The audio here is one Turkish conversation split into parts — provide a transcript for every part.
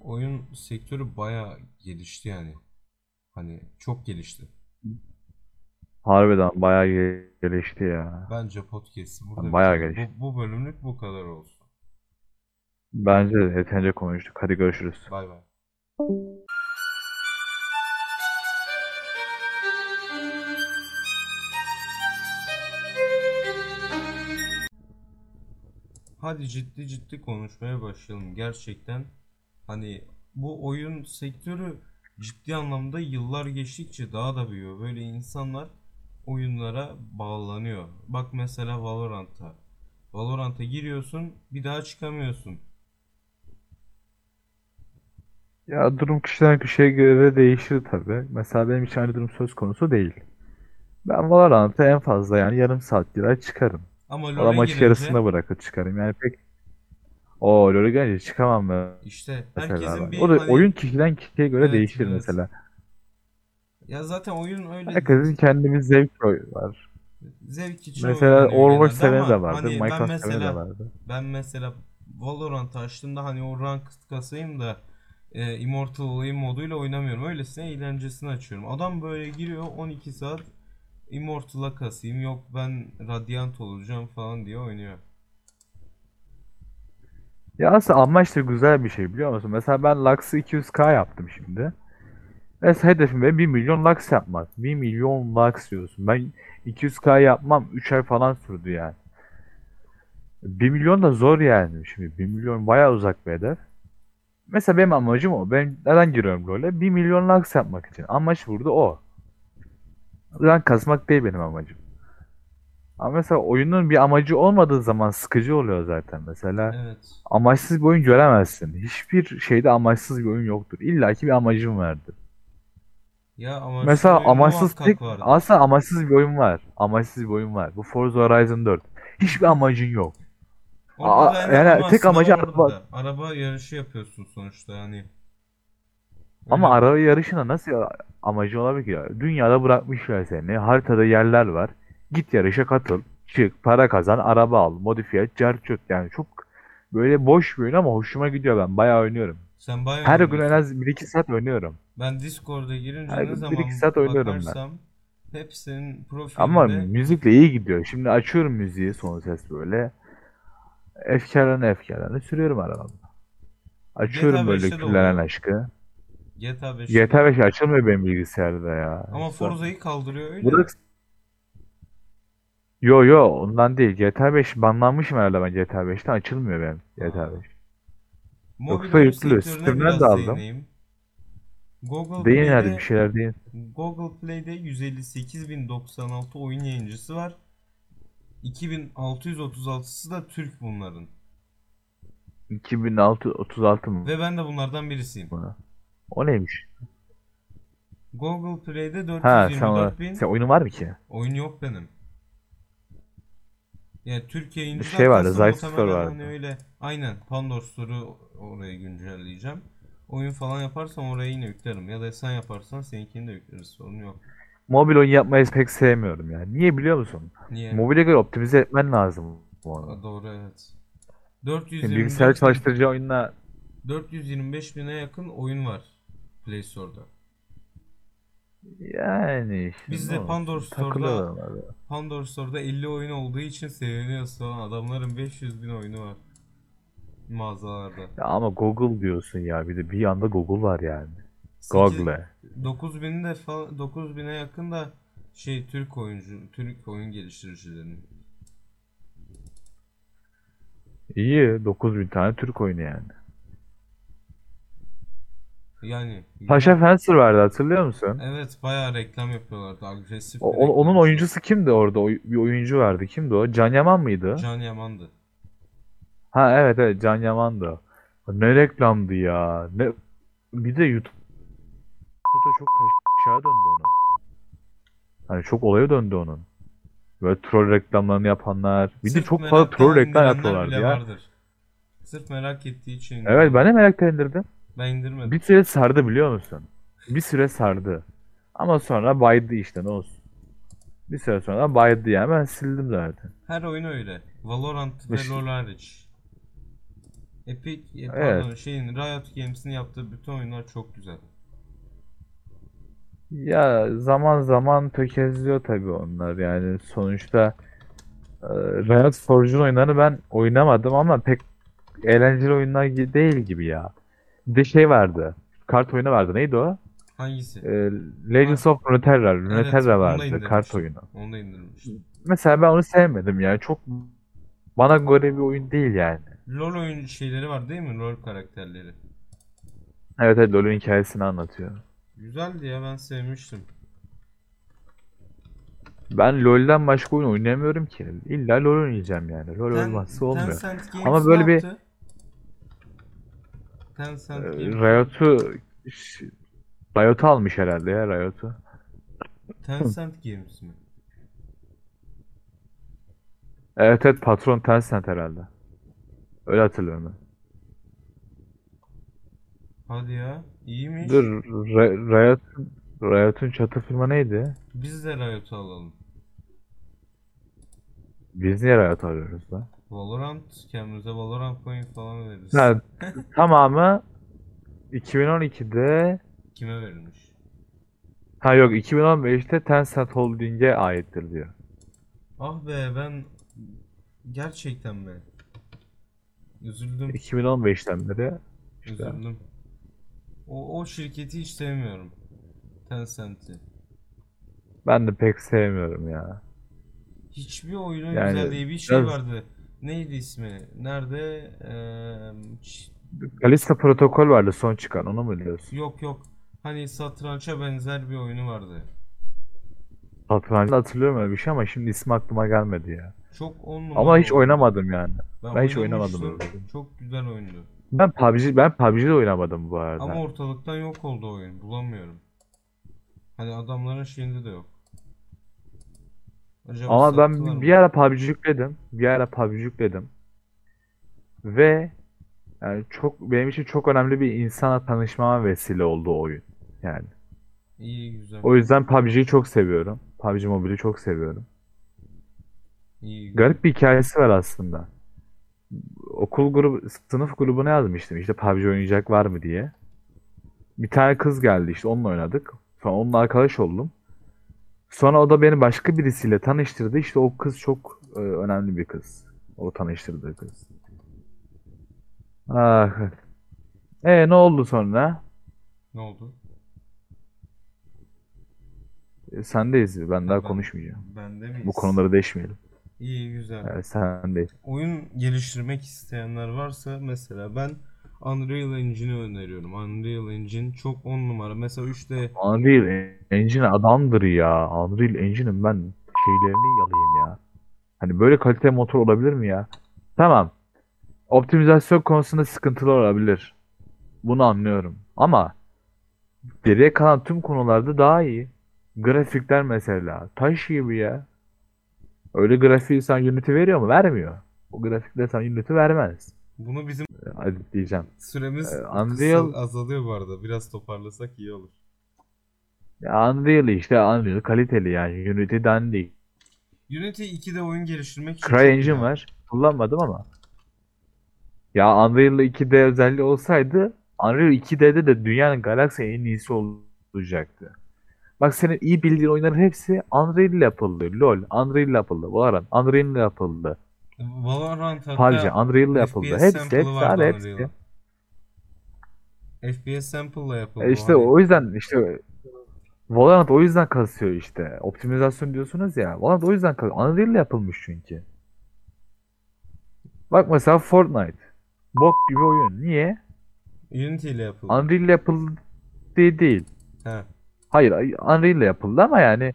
oyun sektörü bayağı gelişti yani. Hani çok gelişti. Harbiden bayağı gelişti ya. Bence podcast'i burada Bayağı şey. bitirelim. gelişti. Bu, bu bölümlük bu kadar olsun. Bence de yeterince konuştuk. Hadi görüşürüz. Bay bay. Hadi ciddi ciddi konuşmaya başlayalım. Gerçekten hani bu oyun sektörü ciddi anlamda yıllar geçtikçe daha da büyüyor. Böyle insanlar oyunlara bağlanıyor. Bak mesela Valorant'a. Valorant'a giriyorsun, bir daha çıkamıyorsun. Ya durum kişiden kişiye göre değişir tabii. Mesela benim için aynı durum söz konusu değil. Ben Valorant'a en fazla yani yarım saat girer çıkarım. Ama O da LoL'e maç girince yarısında bırakır çıkarım. Yani pek o LoL'e gelince çıkamam ben işte mesela herkesin ben. bir O da hani- oyun kişiden kişiye göre Evet, değişir evet. Hani mesela. ya zaten oyun öyle Herkesin kendi bir zevk oyu var. zevk için Mesela oynanıyor Overwatch genelde seveni de hani ama vardı, hani ben Minecraft seveni de mesela vardı. ben mesela Valorant açtığımda hani o rank kasayım da e, Immortal olayım moduyla oynamıyorum. Öylesine eğlencesini açıyorum. Adam böyle giriyor 12 saat Immortal'a kasayım. Yok ben Radiant olacağım falan diye oynuyor. Ya aslında amaç da güzel bir şey biliyor musun? Mesela ben Lux'ı 200k yaptım şimdi. Mesela hedefim benim 1 milyon Lux yapmak. 1 milyon Lux diyorsun. Ben 200k yapmam 3 ay falan sürdü yani. 1 milyon da zor yani şimdi. 1 milyon bayağı uzak bir hedef. Mesela benim amacım o. Ben neden giriyorum LoL'e? 1 milyon Lux yapmak için. Amaç burada o. Rank kasmak değil benim amacım. Ama mesela oyunun bir amacı olmadığı zaman sıkıcı oluyor zaten. Mesela Evet. amaçsız bir oyun göremezsin. Hiçbir şeyde amaçsız bir oyun yoktur. İlla ki bir amacın vardır. Ya amaçsız Mesela oyun amaçsız muhakkak tek vardı. aslında amaçsız bir oyun var. Amaçsız bir oyun var. Bu Forza Horizon 4. Hiçbir amacın yok. Orada Aa, da yani ama tek aslında amacı orada araba- da. Araba yarışı yapıyorsun sonuçta hani. Ama Öyle- araba yarışına nasıl amacı olabilir ki? ya? Dünyada bırakmışlar seni. Haritada yerler var. Git yarışa katıl. Çık, para kazan, araba al, modifiye et, cart curt. Yani çok böyle boş bir oyun ama hoşuma gidiyor ben. Bayağı oynuyorum. Sen bayağı Her gün en oynuyorsun. az 1-2 saat oynuyorum. Ben Discord'a girince Her ne gün bir zaman iki saat oynuyorum ben. bakarsam hepsinin Ama profilinde müzikle iyi gidiyor. Şimdi açıyorum müziği son ses böyle. Efkarlanı efkarlanı sürüyorum arabamda. Açıyorum GTA böyle 5'te de küllenen oluyor. aşkı. GTA 5. GTA 5 açılmıyor benim bilgisayarda ya. Ama Hiç zor. Forza'yı kaldırıyor öyle. Bırak. Yo yo ondan değil. GTA 5 banlanmışım herhalde ben GTA 5'ten açılmıyor benim Aa. GTA 5. Mobil yoksa oyun yırtılıyor. sektörüne Steam'den biraz de aldım. değineyim. Google Değil herhalde bir Play'de şeyler değil. Google Play'de 158.096 oyun yayıncısı var. 2636'sı da Türk bunların. 2636 mı? Ve ben de bunlardan birisiyim. buna? O neymiş? Google Play'de Ha sen, olarak- 424.000 sen oyunun var mı ki? Oyun yok benim. Yani Türkiye Bir yayıncılar şey vardı, kasa Zayt Store muhtemelen vardı. hani öyle. Aynen. Pandora Store'u oraya güncelleyeceğim. Oyun falan yaparsam oraya yine yüklerim. Ya da sen yaparsan seninkini de yükleriz. Sorun yok. Mobil oyun yapmayı pek sevmiyorum ya. Niye biliyor musun? Niye? Mobile göre optimize etmen lazım bu arada. Ha, Doğru evet. Yani bilgisayar 425 çalıştıracağı oyunla 425 bine yakın oyun var Play Store'da. yani işte Biz ne de olsun, Pandora Store'da- takılıyorum abi. Pandora Store'da 50 oyun olduğu için seviniyoruz falan. Adamların 500 bin oyunu var. Mağazalarda. Ya ama Google diyorsun ya bir de bir yanda Google var yani. Sekiz- Google. 9000 de falan 9000'e yakın da şey Türk oyuncu Türk oyun geliştiricilerinin. İyi 9000 tane Türk oyunu yani. Yani Paşa Fencer vardı hatırlıyor musun? evet bayağı reklam yapıyorlardı agresif. O- bir o- onun reklam. oyuncusu kimdi orada? Oy- bir oyuncu vardı. Kimdi o? Can Yaman mıydı? Can Yaman'dı. Ha evet evet Can Yaman'dı. o. Ne reklamdı ya. Ne bir de YouTube YouTube'da çok aşağı döndü onun. Hani çok olaya döndü onun. Böyle troll reklamlarını yapanlar. Bir de Sırf çok fazla troll meraktan reklam indirenler yapıyorlardı bile ya. vardır. Sırf merak ettiği için. Evet ben de merakla indirdim. Ben indirmedim. Bir süre sardı biliyor musun? Bir süre sardı. Ama sonra baydı işte ne olsun. Bir süre sonra baydı yani ben sildim zaten. Her oyun öyle. Valorant ve İşte- LoL hariç. Epic, e, Evet. pardon şeyin Riot Games'in yaptığı bütün oyunlar çok güzel. Ya zaman zaman tökezliyor tabii onlar yani sonuçta e, Riot Forge'un oyunlarını ben oynamadım ama pek eğlenceli oyunlar gi- değil gibi ya. Bir de şey vardı. Kart oyunu vardı. Neydi o? Hangisi? E, Legends of Runeterra. Runeterra onu da vardı. Kart indirmiştim. oyunu. Onu da indirmiştim. Mesela ben onu sevmedim yani. Çok bana göre bir oyun değil yani. LoL oyun şeyleri var değil mi? LoL karakterleri. Evet evet LoL'ün hikayesini anlatıyor. Güzeldi ya ben sevmiştim. Ben LoL'den başka oyun oynamıyorum ki. İlla LoL oynayacağım yani. LoL Ten- olmazsa olmuyor. Tencent Games Ama böyle ne bir- yaptı? Tencent Ee, Games. Riot'u ş- Riot'u almış herhalde ya Riot'u. Tencent Games mi? Evet evet patron Tencent herhalde. Öyle hatırlıyorum ben. Hadi ya. İyiymiş. Dur Ra- Riot Riot'un çatı firma neydi? Biz de Riot'u alalım. Biz niye Riot arıyoruz lan? Valorant kendimize Valorant coin falan veririz. Ha, tamamı 2012'de Kime verilmiş? ha yok 2015'te Tencent Holding'e aittir diyor. Ah be ben gerçekten mi? Üzüldüm. 2015'ten beri işte Üzüldüm. O, o şirketi hiç sevmiyorum. Tencent'i. ben de pek sevmiyorum ya. Hiçbir oyunun Yani güzel değil. Bir şey biraz- vardı. Neydi ismi? Nerede? Eee, ç- Callisto Protokol vardı son çıkan onu mu diyorsun? yok yok. Hani satrança benzer bir oyunu vardı. Hatırlamıyorum hatırlıyorum öyle bir şey ama şimdi ismi aklıma gelmedi ya. Çok on numara Ama hiç oyun. oynamadım yani. ben hiç oynamıştım. oynamadım öyle. Çok güzel oyundu. Ben PUBG ben PUBG'de oynamadım bu arada. Ama ortalıktan yok oldu oyun. Bulamıyorum. Hani adamların şeyinde de yok. Acaba Ama ben sattılar bir- mı? bir ara PUBG yükledim. Bir ara PUBG yükledim. Ve yani çok benim için çok önemli bir insana tanışmama vesile oldu o oyun. Yani İyi güzel. o yüzden PUBG'yi çok seviyorum. PUBG Mobile'i çok seviyorum. İyi güzel. Garip bir hikayesi var aslında. Okul grubu, sınıf grubuna yazmıştım işte PUBG oynayacak var mı diye. Bir tane kız geldi işte onunla oynadık. Sonra onunla arkadaş oldum. Sonra o da beni başka birisiyle tanıştırdı. İşte o kız çok e, önemli bir kız. O tanıştırdığı kız. Ah. E ne oldu sonra? Ne oldu? E, sendeyiz. Ben daha Ben- konuşmayacağım. Bende miyiz? Bu konuları değişmeyelim. İyi güzel. Evet, sendeyiz. Oyun geliştirmek isteyenler varsa mesela ben Unreal Engine'i öneriyorum. Unreal Engine çok on numara. Mesela 3D Unreal Engine adamdır ya. Unreal Engine'in ben şeylerini yalayayım ya. Hani böyle kalite motor olabilir mi ya? Tamam. Optimizasyon konusunda sıkıntılı olabilir. Bunu anlıyorum. Ama geriye kalan tüm konularda daha iyi. Grafikler mesela. Taş gibi ya. Öyle grafiği sen Unity veriyor mu? Vermiyor. O grafikler sen Unity vermez. bunu bizim Hadi diyeceğim. süremiz Ee, Unreal- kısal- azalıyor bu arada. Biraz toparlasak iyi olur. Ya Unreal işte Unreal kaliteli yani. Unity'den değil. Unity 2'de oyun geliştirmek için çok CryEngine iyi. var. Kullanmadım ama. Ya Unreal 2D özelliği olsaydı Unreal 2D'de de dünyanın galaksi en iyisi olacaktı. Bak senin iyi bildiğin oyunların hepsi Unreal ile yapıldı. LoL, Unreal ile yapıldı. Valorant, Unreal ile yapıldı. Valorant hatta PUBG, Unreal ile yapıldı. FPS Hepsi, sample'ı hepsi, vardı abi hepsi. Unreal'ın. FPS sample'la yapıldı. E İşte hani. o yüzden işte Valorant o yüzden kasıyor işte. Optimizasyon diyorsunuz ya. Valorant o yüzden kasıyor. Unreal ile yapılmış çünkü. Bak mesela Fortnite. Bok gibi oyun. Niye? Unity ile yapıldı. Unreal ile yapıldı diye değil. He. Hayır Unreal ile yapıldı ama yani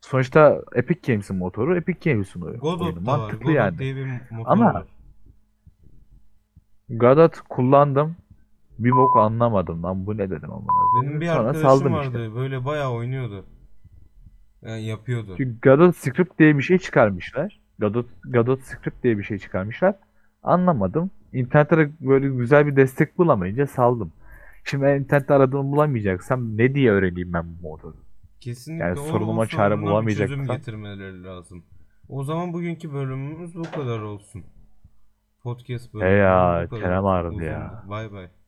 sonuçta Epic Games'in motoru Epic Games'in oy- God oyunu. of da var. God Mantıklı of yani. diye bir motor Ama- var. God of kullandım. Bir bok anlamadım lan bu ne dedim ama. Benim bir Sonra arkadaşım saldım vardı. işte. Böyle bayağı oynuyordu. Yani yapıyordu. Çünkü God of Script diye bir şey çıkarmışlar. God of, God of Script diye bir şey çıkarmışlar. Anlamadım. İnternette de böyle güzel bir destek bulamayınca saldım. Şimdi ben internette aradığımı bulamayacaksam ne diye öğreneyim ben bu motoru? Kesinlikle Yani o- o sorunuma çare sorununa bir bulamayacak çözüm falan. getirmeleri lazım. O zaman bugünkü bölümümüz bu kadar olsun. Podcast E ya, Bu kadar. çenem ağrıdı Uzun. ya. Bay bay.